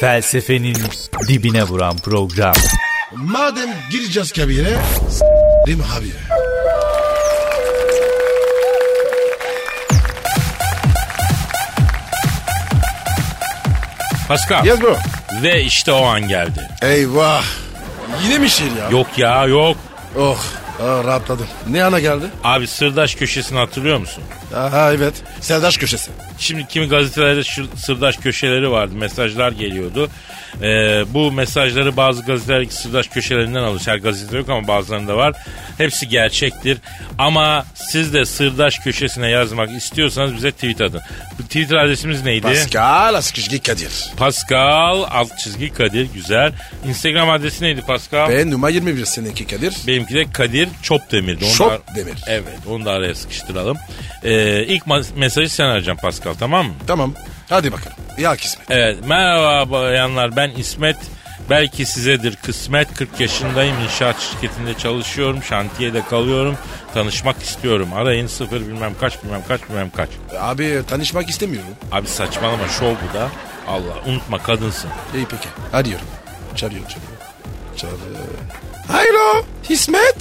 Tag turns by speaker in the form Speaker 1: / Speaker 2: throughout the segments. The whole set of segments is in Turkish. Speaker 1: Felsefenin dibine vuran program.
Speaker 2: Madem gireceğiz kabire s**rim habire.
Speaker 3: Pascal.
Speaker 2: Yes bro.
Speaker 3: Ve işte o an geldi.
Speaker 2: Eyvah. Yine mi şiir ya?
Speaker 3: Yok ya yok.
Speaker 2: Oh. Aa, rahatladım. Ne ana geldi?
Speaker 3: Abi sırdaş köşesini hatırlıyor musun?
Speaker 2: Aha evet. Serdaş köşesi.
Speaker 3: Şimdi kimi gazetelerde şır- sırdaş köşeleri vardı. Mesajlar geliyordu. Ee, bu mesajları bazı gazeteler sırdaş köşelerinden alır. Her gazetede yok ama bazılarında var. Hepsi gerçektir. Ama siz de sırdaş köşesine yazmak istiyorsanız bize tweet atın. Bu Twitter adresimiz neydi?
Speaker 2: Pascal Askışki Kadir.
Speaker 3: Pascal alt çizgi Kadir güzel. Instagram adresi neydi Pascal?
Speaker 2: Ve numara 21 seninki Kadir.
Speaker 3: Benimki de Kadir Çopdemir'di. Onu da-
Speaker 2: Çopdemir.
Speaker 3: Evet onu da araya sıkıştıralım. Ee, ilk ma- mesajı sen arayacaksın Pascal tamam mı?
Speaker 2: Tamam. Hadi bakalım. Ya kısmet.
Speaker 3: Evet merhaba bayanlar ben İsmet. Belki sizedir kısmet 40 yaşındayım inşaat şirketinde çalışıyorum şantiyede kalıyorum tanışmak istiyorum arayın sıfır bilmem kaç bilmem kaç bilmem kaç.
Speaker 2: Abi tanışmak istemiyorum.
Speaker 3: Abi saçmalama şov bu da Allah unutma kadınsın.
Speaker 2: İyi peki. Arıyorum. Çağırıyor çağırıyor. Çağırıyor. Alo İsmet.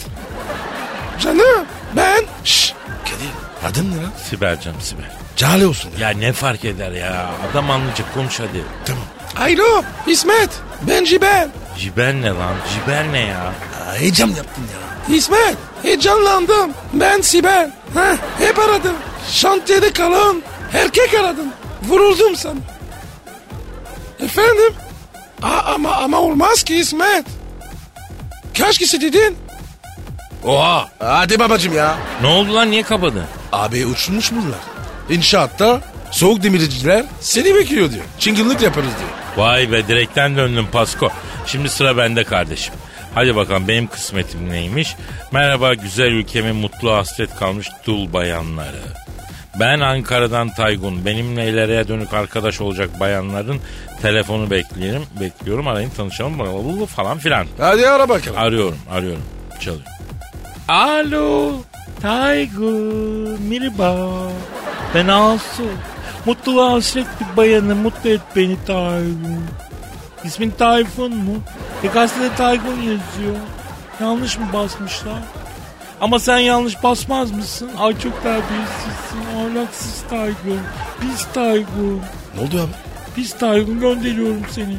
Speaker 2: Canım ben. Şşş. Kadir. Adın ne lan?
Speaker 3: Sibel canım Sibel.
Speaker 2: Cale olsun.
Speaker 3: Ya ne fark eder ya adam anlayacak konuş hadi.
Speaker 2: Tamam. Alo İsmet. Ben Cibel.
Speaker 3: Ciber ne lan ciber ne ya?
Speaker 2: Heyecan yaptın ya. İsmet heyecanlandım. Ben Sibel. Heh, hep aradım. Şantiyede kalan erkek aradım. Vuruldum sana. Efendim? Aa, ama ama olmaz ki İsmet. Kaç kişi dedin?
Speaker 3: Oha
Speaker 2: Hadi babacım ya.
Speaker 3: ne oldu lan niye kapadın?
Speaker 2: Abi uçmuş bunlar. İnşaatta soğuk demirciler seni bekliyor diyor. Çingillik yaparız diyor.
Speaker 3: Vay be direkten döndüm Pasko. Şimdi sıra bende kardeşim. Hadi bakalım benim kısmetim neymiş? Merhaba güzel ülkemin mutlu hasret kalmış dul bayanları. Ben Ankara'dan Taygun. Benimle ileriye dönük arkadaş olacak bayanların telefonu bekliyorum. Bekliyorum arayın tanışalım bakalım falan filan.
Speaker 2: Hadi ara bakalım.
Speaker 3: Arıyorum arıyorum. Çalıyor. Alo Taygun. Merhaba. Ben Asu. Mutluluğa hasret bir bayanı mutlu et beni Taygun. İsmin Tayfun mu? E gazetede Tayfun yazıyor. Yanlış mı basmışlar? Ama sen yanlış basmaz mısın? Ay çok terbiyesizsin. Ahlaksız Taygun. Pis Taygun.
Speaker 2: Ne oldu abi?
Speaker 3: Pis Taygun gönderiyorum seni.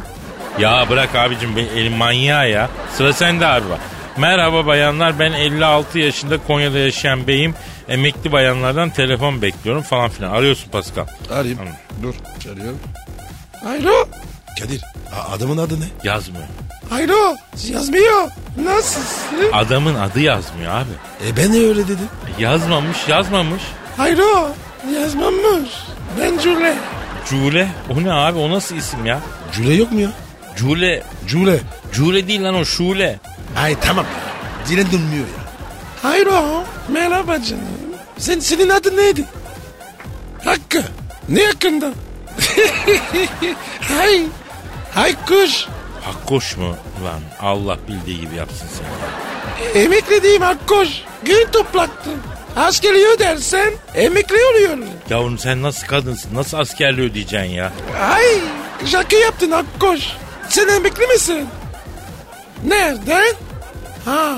Speaker 3: Ya bırak abicim ben elim manyağı ya. Sıra sende abi bak. Merhaba bayanlar ben 56 yaşında Konya'da yaşayan beyim. Emekli bayanlardan telefon bekliyorum falan filan. Arıyorsun Pascal.
Speaker 2: Arayayım.
Speaker 3: Tamam.
Speaker 2: Dur. Çağırıyorum. Alo. Kadir. a- adamın adı ne?
Speaker 3: Yazmıyor.
Speaker 2: Alo. Yazmıyor. Nasılsın?
Speaker 3: Adamın adı yazmıyor abi.
Speaker 2: E ben de öyle dedim.
Speaker 3: Yazmamış yazmamış.
Speaker 2: Alo. Yazmamış. Ben Cule.
Speaker 3: Cule. O ne abi o nasıl isim ya?
Speaker 2: Cule yok mu ya?
Speaker 3: Cule.
Speaker 2: Cule.
Speaker 3: Cule değil lan o Şule.
Speaker 2: Ay tamam. Dilen dönmüyor ya. Alo. Merhaba canım. Sen, senin adın neydi? Hakkı. Ne hakkında? Hay. Hay kuş.
Speaker 3: Hakkoş mu lan? Allah bildiği gibi yapsın seni.
Speaker 2: Emeklediğim Akkoş. Gül toplaktı. Askeri ödersen emekli oluyorum.
Speaker 3: Yavrum sen nasıl kadınsın? Nasıl askerliği ödeyeceksin ya?
Speaker 2: Ay şaka yaptın Akkoş. Sen emekli misin? Nereden? Ha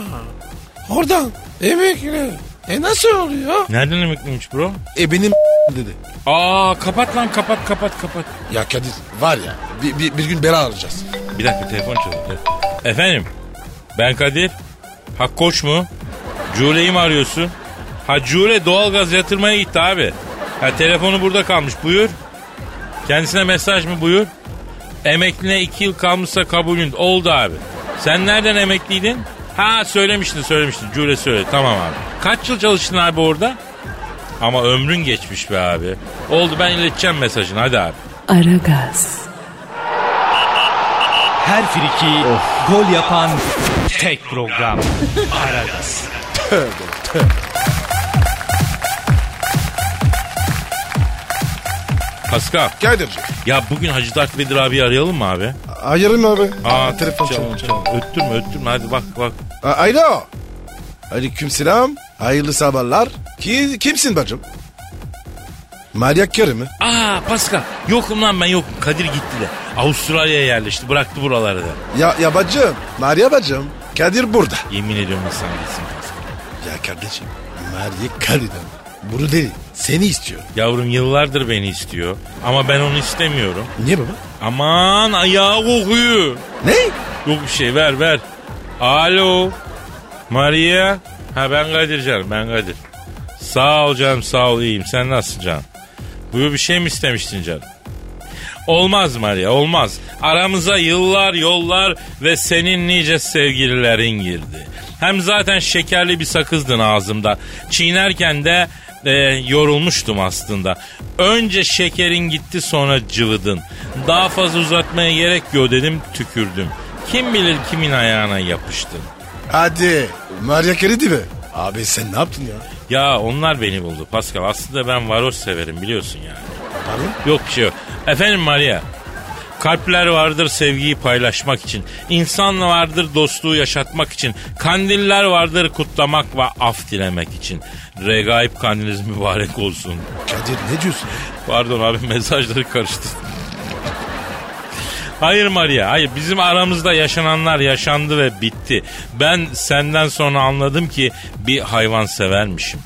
Speaker 2: oradan emekli. E nasıl oluyor?
Speaker 3: Nereden emekliymiş bro?
Speaker 2: E benim dedi.
Speaker 3: Aa kapat lan kapat kapat kapat.
Speaker 2: Ya Kadir var ya bir, bir, bir gün bela alacağız.
Speaker 3: Bir dakika telefon çalıyor. Efendim ben Kadir. Hakkoç mu? Cule'yi mi arıyorsun? Ha Cule doğalgaz yatırmaya gitti abi. Ha telefonu burada kalmış buyur. Kendisine mesaj mı buyur? Emekline iki yıl kalmışsa kabulün. Oldu abi. Sen nereden emekliydin? Ha söylemiştin söylemiştin. Cule söyle tamam abi. Kaç yıl çalıştın abi orada? Ama ömrün geçmiş be abi. Oldu ben ileteceğim mesajını hadi abi.
Speaker 4: Aragaz,
Speaker 1: Her friki gol yapan tek program. Aragaz.
Speaker 3: Pascal.
Speaker 2: Kadir.
Speaker 3: Ya bugün Hacı Dert Bedir abi arayalım mı abi?
Speaker 2: Ayırın abi.
Speaker 3: çalıyor, çalıyor. Öttürme öttürme hadi bak bak.
Speaker 2: Alo. Aleyküm selam. Hayırlı sabahlar. Ki, kimsin bacım? Manyak karı mı?
Speaker 3: Aa Pascal yokum lan ben yokum. Kadir gitti de. Avustralya'ya yerleşti bıraktı buraları da.
Speaker 2: Ya, ya bacım. Maria bacım. Kadir burada.
Speaker 3: Yemin ediyorum insan gitsin Pascal.
Speaker 2: Ya kardeşim. Maria karıdan. Bunu değil. Seni istiyor.
Speaker 3: Yavrum yıllardır beni istiyor ama ben onu istemiyorum.
Speaker 2: Niye baba?
Speaker 3: Aman ayağı kokuyor.
Speaker 2: Ne?
Speaker 3: Yok bir şey ver ver. Alo. Maria. Ha ben Kadir canım ben Kadir. Sağ ol canım sağ ol iyiyim. Sen nasılsın canım? Buyur bir şey mi istemiştin canım? Olmaz Maria olmaz. Aramıza yıllar yollar ve senin nice sevgililerin girdi. Hem zaten şekerli bir sakızdın ağzımda. Çiğnerken de e, yorulmuştum aslında. Önce şekerin gitti sonra cıvıdın. Daha fazla uzatmaya gerek yok dedim tükürdüm. Kim bilir kimin ayağına yapıştın.
Speaker 2: Hadi. Maria karı değil mi? Abi sen ne yaptın ya?
Speaker 3: Ya onlar beni buldu Pascal. Aslında ben varoş severim biliyorsun yani.
Speaker 2: Pardon?
Speaker 3: Yok bir şey yok. Efendim Maria. Kalpler vardır sevgiyi paylaşmak için. İnsan vardır dostluğu yaşatmak için. Kandiller vardır kutlamak ve af dilemek için. Regaip kandiliniz mübarek olsun.
Speaker 2: Kadir ne diyorsun?
Speaker 3: Pardon abi mesajları karıştı. Hayır Maria, hayır bizim aramızda yaşananlar yaşandı ve bitti. Ben senden sonra anladım ki bir hayvan severmişim.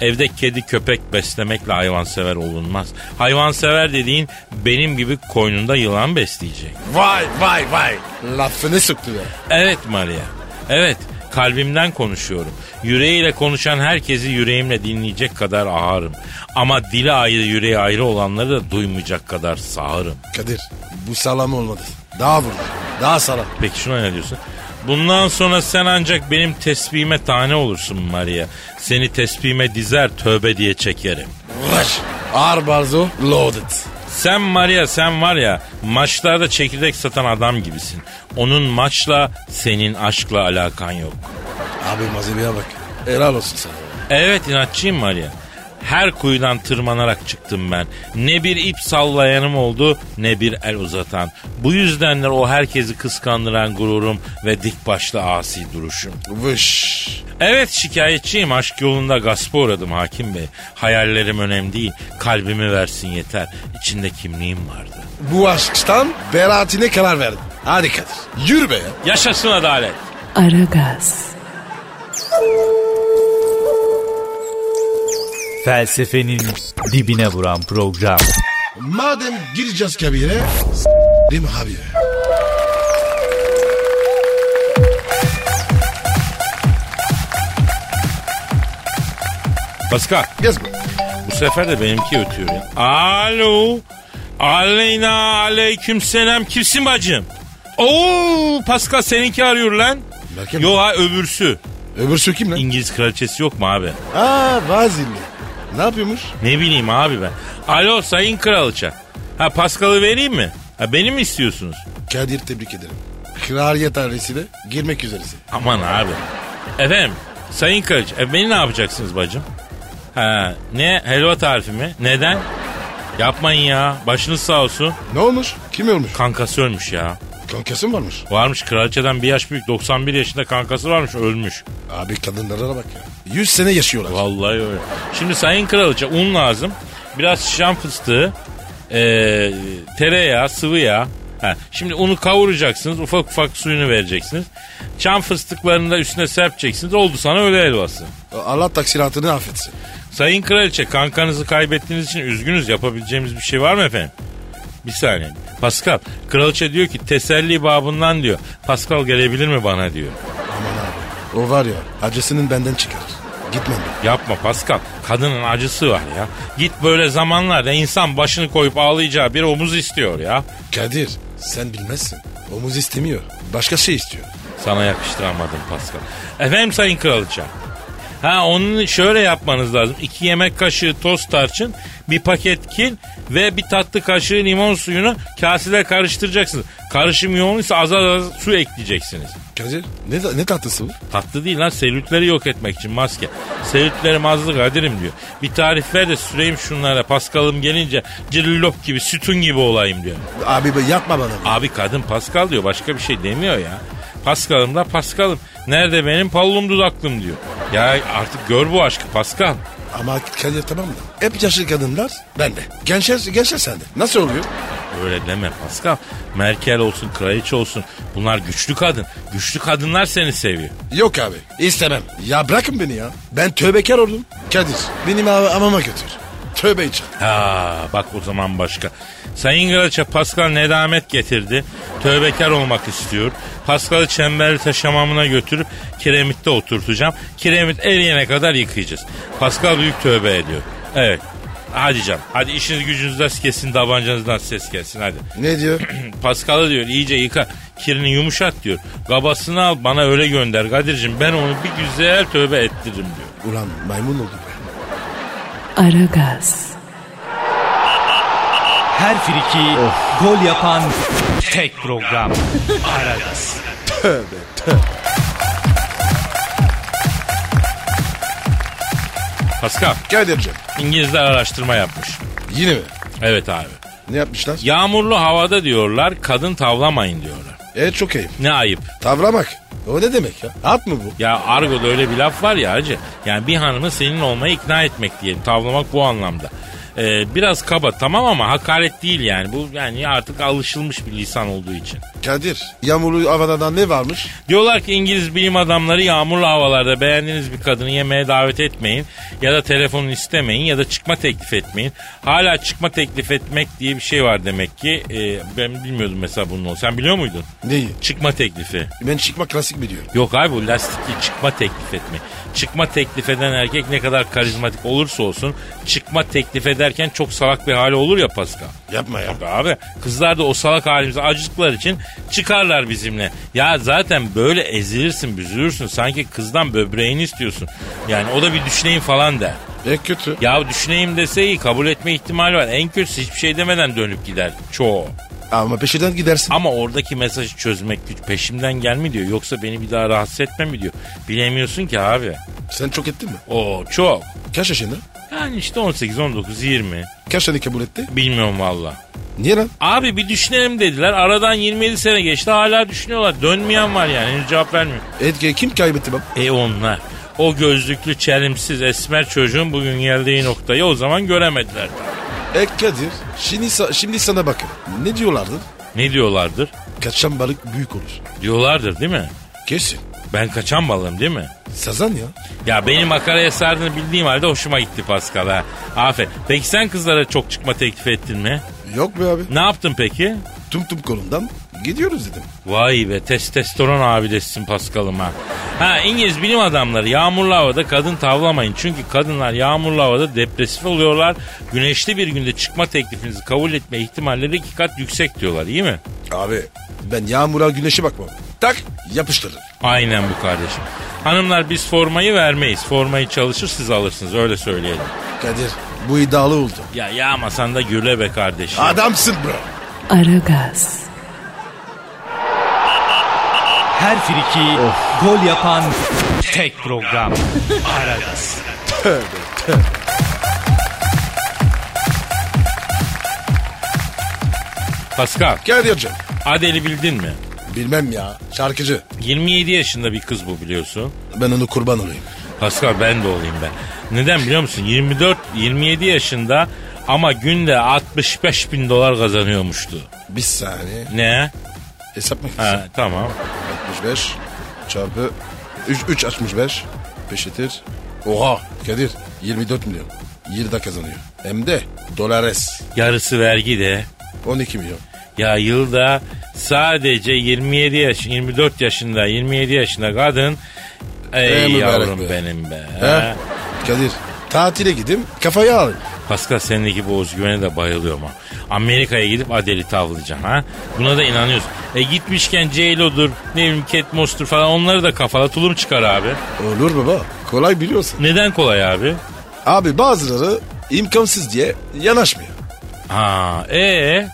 Speaker 3: Evde kedi köpek beslemekle hayvansever olunmaz. Hayvansever dediğin benim gibi koynunda yılan besleyecek.
Speaker 2: Vay vay vay. Lafını soktu ya.
Speaker 3: Evet Maria. Evet kalbimden konuşuyorum. Yüreğiyle konuşan herkesi yüreğimle dinleyecek kadar ağırım. Ama dili ayrı yüreği ayrı olanları da duymayacak kadar sağırım.
Speaker 2: Kadir bu salam olmadı. Daha vurdu. Daha salam.
Speaker 3: Peki şuna ne diyorsun? Bundan sonra sen ancak benim tesbihime tane olursun Maria. Seni tesbihime dizer tövbe diye çekerim.
Speaker 2: Rush. Ağır barzo loaded.
Speaker 3: Sen Maria sen var ya maçlarda çekirdek satan adam gibisin. Onun maçla senin aşkla alakan yok.
Speaker 2: Abi malzemeye bak. Helal olsun sana.
Speaker 3: Evet inatçıyım Maria. Her kuyudan tırmanarak çıktım ben. Ne bir ip sallayanım oldu ne bir el uzatan. Bu yüzdenler o herkesi kıskandıran gururum ve dik başlı asi duruşum.
Speaker 2: Vış.
Speaker 3: Evet şikayetçiyim. Aşk yolunda gaspa uğradım hakim bey. Hayallerim önemli değil. Kalbimi versin yeter. İçinde kimliğim vardı.
Speaker 2: Bu aşktan beraatine karar verdim. Hadi Kadir. Yürü be ya.
Speaker 3: Yaşasın adalet.
Speaker 4: Aragaz,
Speaker 1: Felsefenin dibine vuran program.
Speaker 2: Madem gireceğiz kabire. Rim abi.
Speaker 3: Pascal
Speaker 2: Yaz bu.
Speaker 3: bu sefer de benimki ötüyor ya. Alo. Aleyna aleyküm selam. Kimsin bacım? Oo Pascal seninki arıyor lan.
Speaker 2: Berke mi?
Speaker 3: Yo ha öbürsü.
Speaker 2: Öbürsü kim lan?
Speaker 3: İngiliz kraliçesi yok mu abi?
Speaker 2: Aa Vazilli. Ne yapıyormuş?
Speaker 3: Ne bileyim abi ben. Alo sayın kraliçe. Ha Pascal'ı vereyim mi? Ha beni mi istiyorsunuz?
Speaker 2: Kadir tebrik ederim. Kraliyet ailesine girmek üzeresin.
Speaker 3: Aman abi. Efendim Sayın Kılıç e beni ne yapacaksınız bacım? Ha, ne helva tarifi mi? Neden? Yapmayın ya. Başınız sağ olsun.
Speaker 2: Ne olmuş? Kim olmuş?
Speaker 3: Kankası ölmüş ya.
Speaker 2: Kankası mı varmış?
Speaker 3: Varmış kraliçeden bir yaş büyük 91 yaşında kankası varmış ölmüş.
Speaker 2: Abi kadınlara bak ya. 100 sene yaşıyorlar.
Speaker 3: Vallahi öyle. Şimdi sayın kraliçe un lazım. Biraz şam fıstığı. e, tereyağı, sıvı yağ. Ha, şimdi unu kavuracaksınız. Ufak ufak suyunu vereceksiniz. Çam fıstıklarını da üstüne serpeceksiniz. Oldu sana öyle helvası.
Speaker 2: Allah taksiratını affetsin.
Speaker 3: Sayın Kraliçe kankanızı kaybettiğiniz için üzgünüz. Yapabileceğimiz bir şey var mı efendim? Bir saniye. Pascal, kraliçe diyor ki teselli babından diyor. Pascal gelebilir mi bana diyor.
Speaker 2: Aman abi. O var ya acısının benden çıkarır. Gitmem ben.
Speaker 3: Yapma Pascal, kadının acısı var ya. Git böyle zamanlarda insan başını koyup ağlayacağı bir omuz istiyor ya.
Speaker 2: Kadir sen bilmezsin. Omuz istemiyor. Başka şey istiyor.
Speaker 3: Sana yakıştıramadım Pascal. Efendim Sayın Kraliçe. Ha onu şöyle yapmanız lazım. İki yemek kaşığı toz tarçın, bir paket kil ve bir tatlı kaşığı limon suyunu kasede karıştıracaksınız. Karışım yoğunsa az az az su ekleyeceksiniz.
Speaker 2: Kadir ne, ne tatlısı bu?
Speaker 3: Tatlı değil lan selülitleri yok etmek için maske. Selülitlerim azdı Kadir'im diyor. Bir tarif ver de süreyim şunlara Paskal'ım gelince cillop gibi sütun gibi olayım diyor.
Speaker 2: Abi be, yapma bana. bunu.
Speaker 3: Abi kadın Pascal diyor başka bir şey demiyor ya. Pascal'ım da Pascal'ım. Nerede benim pallum dudaklım diyor. Ya artık gör bu aşkı Pascal.
Speaker 2: Ama Kadir tamam mı? Hep yaşlı kadınlar bende. Gençler, gençler sende. Nasıl oluyor?
Speaker 3: Öyle deme Pascal. Merkel olsun, kraliçe olsun. Bunlar güçlü kadın. Güçlü kadınlar seni seviyor.
Speaker 2: Yok abi istemem. Ya bırakın beni ya. Ben tövbekar oldum. Kadir benim ama amama götür. Tövbe için.
Speaker 3: Ha bak o zaman başka. Sayın Kraliçe Pascal nedamet getirdi. Tövbekar olmak istiyor. Pascal'ı çemberli taş hamamına götürüp kiremitte oturtacağım. Kiremit eriyene kadar yıkayacağız. Pascal büyük tövbe ediyor. Evet. Hadi canım. Hadi işiniz gücünüz ses kesin, tabancanızdan ses gelsin hadi.
Speaker 2: Ne diyor?
Speaker 3: Pascal'ı diyor iyice yıka. Kirini yumuşat diyor. Gabasını al bana öyle gönder Kadir'cim. Ben onu bir güzel tövbe ettiririm diyor.
Speaker 2: Ulan maymun oldu be.
Speaker 4: Aragaz,
Speaker 1: Her friki gol yapan tek program. Aragaz.
Speaker 3: Pascal,
Speaker 2: Kadir'cim
Speaker 3: İngilizler araştırma yapmış.
Speaker 2: yine mi?
Speaker 3: Evet abi.
Speaker 2: Ne yapmışlar?
Speaker 3: Yağmurlu havada diyorlar kadın tavlamayın diyorlar.
Speaker 2: Evet E, çok iyi.
Speaker 3: Ne ayıp.
Speaker 2: Tavlamak. O ne demek ya? At mı bu?
Speaker 3: Ya argoda öyle bir laf var ya hacı. Yani bir hanımı senin olmaya ikna etmek diyelim. Tavlamak bu anlamda. Ee, biraz kaba tamam ama hakaret değil yani. Bu yani artık alışılmış bir lisan olduğu için.
Speaker 2: Kadir yağmurlu havadan ne varmış?
Speaker 3: Diyorlar ki İngiliz bilim adamları yağmurlu havalarda beğendiğiniz bir kadını yemeğe davet etmeyin ya da telefonunu istemeyin ya da çıkma teklif etmeyin. Hala çıkma teklif etmek diye bir şey var demek ki. Ee, ben bilmiyordum mesela bunun olduğunu. Sen biliyor muydun?
Speaker 2: Neyi?
Speaker 3: Çıkma teklifi.
Speaker 2: Ben çıkma klasik biliyorum.
Speaker 3: Yok abi bu lastikli çıkma teklif etme. Çıkma teklif eden erkek ne kadar karizmatik olursa olsun çıkma teklif ederken çok salak bir hali olur ya Pascal.
Speaker 2: Yapma ya.
Speaker 3: Abi, abi kızlar da o salak halimize acıklar için çıkarlar bizimle. Ya zaten böyle ezilirsin büzülürsün sanki kızdan böbreğini istiyorsun. Yani o da bir düşüneyim falan der.
Speaker 2: E kötü.
Speaker 3: Ya düşüneyim dese iyi kabul etme ihtimali var. En kötüsü hiçbir şey demeden dönüp gider çoğu.
Speaker 2: Ama peşinden gidersin.
Speaker 3: Ama oradaki mesajı çözmek güç. Peşimden gelme diyor. Yoksa beni bir daha rahatsız etme mi diyor. Bilemiyorsun ki abi.
Speaker 2: Sen çok ettin mi?
Speaker 3: O çok.
Speaker 2: Kaç yaşında?
Speaker 3: Yani işte 18, 19, 20.
Speaker 2: Kaç tane kabul etti?
Speaker 3: Bilmiyorum valla.
Speaker 2: Niye lan?
Speaker 3: Abi bir düşünelim dediler. Aradan 27 sene geçti. Hala düşünüyorlar. Dönmeyen var yani. Henüz cevap vermiyor.
Speaker 2: Edge kim kaybetti bak?
Speaker 3: E onlar. O gözlüklü, çelimsiz, esmer çocuğun bugün geldiği noktayı o zaman göremediler.
Speaker 2: E Kadir şimdi, sa- şimdi sana bakın. Ne diyorlardı?
Speaker 3: Ne diyorlardır?
Speaker 2: Kaçan balık büyük olur.
Speaker 3: Diyorlardır değil mi?
Speaker 2: Kesin.
Speaker 3: Ben kaçan balım değil mi?
Speaker 2: Sazan ya.
Speaker 3: Ya benim makaraya sardığını bildiğim halde hoşuma gitti Pascal ha. Aferin. Peki sen kızlara çok çıkma teklif ettin mi?
Speaker 2: Yok be abi.
Speaker 3: Ne yaptın peki?
Speaker 2: Tüm tüm kolumdan gidiyoruz dedim.
Speaker 3: Vay be testosteron abidesisin Pascal'ım ha. Ha İngiliz bilim adamları yağmurlu havada kadın tavlamayın. Çünkü kadınlar yağmurlu havada depresif oluyorlar. Güneşli bir günde çıkma teklifinizi kabul etme ihtimalleri iki kat yüksek diyorlar iyi mi?
Speaker 2: Abi ben yağmura güneşe bakmam. Tak yapıştırır.
Speaker 3: Aynen bu kardeşim. Hanımlar biz formayı vermeyiz. Formayı çalışır siz alırsınız öyle söyleyelim.
Speaker 2: Kadir bu iddialı oldu.
Speaker 3: Ya yağmasan da güle be kardeşim.
Speaker 2: Adamsın bro.
Speaker 4: Aragaz,
Speaker 1: Her friki gol yapan tek program. Aragaz.
Speaker 3: Pascal
Speaker 2: Kadir'cim.
Speaker 3: Adeli bildin mi?
Speaker 2: Bilmem ya şarkıcı.
Speaker 3: 27 yaşında bir kız bu biliyorsun.
Speaker 2: Ben onu kurban olayım.
Speaker 3: Pascal ben de olayım ben. Neden biliyor musun? 24, 27 yaşında ama günde 65 bin dolar kazanıyormuştu.
Speaker 2: Bir saniye.
Speaker 3: Ne?
Speaker 2: Hesap mı?
Speaker 3: Ha, tamam.
Speaker 2: 65 çarpı 3, 3 65 peşitir. Oha Kadir 24 milyon. 20 de kazanıyor. Hem de dolares
Speaker 3: Yarısı vergi de.
Speaker 2: 12 milyon.
Speaker 3: Ya yılda sadece 27 yaş, 24 yaşında, 27 yaşında kadın. Ey
Speaker 2: Ey mübarek
Speaker 3: yavrum
Speaker 2: be.
Speaker 3: benim be.
Speaker 2: He? Kadir tatile gideyim kafayı alayım.
Speaker 3: Pascal seninki bu özgüvene de bayılıyorum ha. Amerika'ya gidip Adeli tavlayacaksın ha. Buna da inanıyorsun. E gitmişken J-Lo'dur, ne bileyim Cat Moss'tur falan onları da kafala tulum çıkar abi.
Speaker 2: Olur baba kolay biliyorsun.
Speaker 3: Neden kolay abi?
Speaker 2: Abi bazıları imkansız diye yanaşmıyor.
Speaker 3: Ha, ee?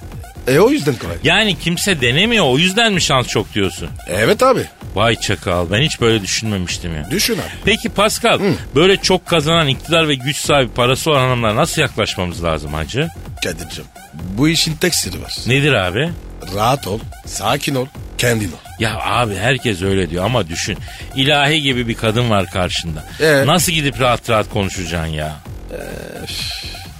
Speaker 2: E o yüzden kolay.
Speaker 3: Yani kimse denemiyor o yüzden mi şans çok diyorsun?
Speaker 2: Evet abi
Speaker 3: Vay çakal ben hiç böyle düşünmemiştim ya.
Speaker 2: düşün abi.
Speaker 3: Peki Pascal böyle çok kazanan iktidar ve güç sahibi parası olan hanımlara nasıl yaklaşmamız lazım hacı?
Speaker 2: Kadir'cim bu işin tek sırrı var.
Speaker 3: Nedir abi?
Speaker 2: Rahat ol, sakin ol, kendin ol.
Speaker 3: Ya abi herkes öyle diyor ama düşün. ilahi gibi bir kadın var karşında.
Speaker 2: Ee?
Speaker 3: Nasıl gidip rahat rahat konuşacaksın ya?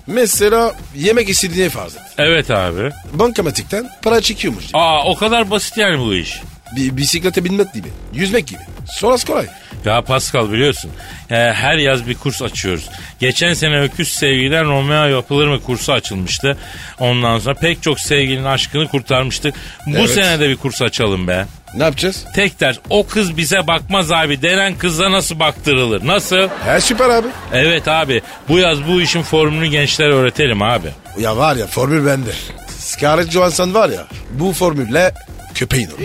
Speaker 2: Mesela yemek istediğini farz et.
Speaker 3: Evet abi.
Speaker 2: Bankamatikten para çekiyormuş gibi.
Speaker 3: Aa o kadar basit yani bu iş.
Speaker 2: Bir, bisiklete binmek gibi. Yüzmek gibi. Sonrası kolay.
Speaker 3: Ya Pascal biliyorsun e, her yaz bir kurs açıyoruz. Geçen sene öküz sevgiden Romeo yapılır mı kursu açılmıştı. Ondan sonra pek çok sevgilinin aşkını kurtarmıştık. Bu
Speaker 2: Evet.
Speaker 3: sene de bir kurs açalım be.
Speaker 2: Ne yapacağız?
Speaker 3: Tek ders o kız bize bakmaz abi denen kıza nasıl baktırılır? Nasıl?
Speaker 2: Her süper abi.
Speaker 3: Evet abi bu yaz bu işin formülünü gençlere öğretelim abi.
Speaker 2: Ya var ya formül bende. Scarlett Johansson var ya bu formülle köpeğin olur.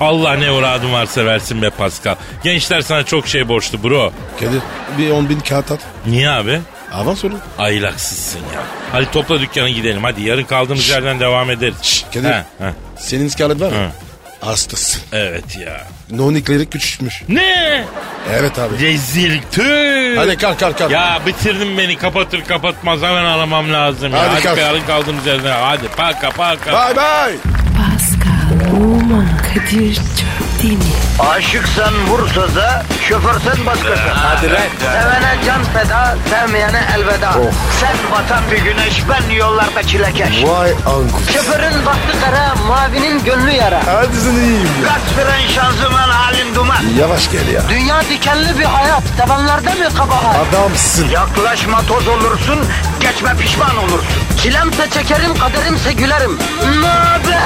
Speaker 3: Allah ne uğradın varsa versin be Pascal. Gençler sana çok şey borçlu bro.
Speaker 2: Kadir bir 10 bin kağıt at.
Speaker 3: Niye abi?
Speaker 2: Avans olur.
Speaker 3: Aylaksızsın ya. Hadi topla dükkanı gidelim hadi yarın kaldığımız yerden devam ederiz.
Speaker 2: Şşş, Kadir.
Speaker 3: Ha, ha.
Speaker 2: Senin Scarlett var
Speaker 3: Hı.
Speaker 2: ya. Hastasın.
Speaker 3: Evet ya.
Speaker 2: Nonikleri küçültmüş.
Speaker 3: Ne?
Speaker 2: Evet abi.
Speaker 3: Rezil tüh.
Speaker 2: Hadi kalk kalk kalk.
Speaker 3: Ya bitirdin beni kapatır kapatmaz hemen aramam lazım. ya.
Speaker 2: Hadi
Speaker 3: Hadi
Speaker 2: kalk.
Speaker 3: yarın kaldığımız yerden hadi paka paka.
Speaker 2: Bay bay.
Speaker 4: Pascal, Oman, Kadir çok değil mi?
Speaker 5: Aşıksan vursa da şoförsen başkasın. Hadi Sevene can feda, sevmeyene elveda. Sen batan bir güneş, ben yollarda çilekeş.
Speaker 2: Vay anku.
Speaker 5: Şoförün baktı kara, mavinin gönlü yara.
Speaker 2: Hadi sen iyiyim ya.
Speaker 5: Kasperen şanzıman halin duman.
Speaker 2: Yavaş gel ya.
Speaker 5: Dünya dikenli bir hayat, sevenlerde mi kabahar?
Speaker 2: Adamsın.
Speaker 5: Yaklaşma toz olursun, geçme pişman olursun. Çilemse çekerim, kaderimse gülerim. Möber!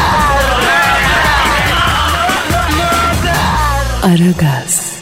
Speaker 4: Aragaz.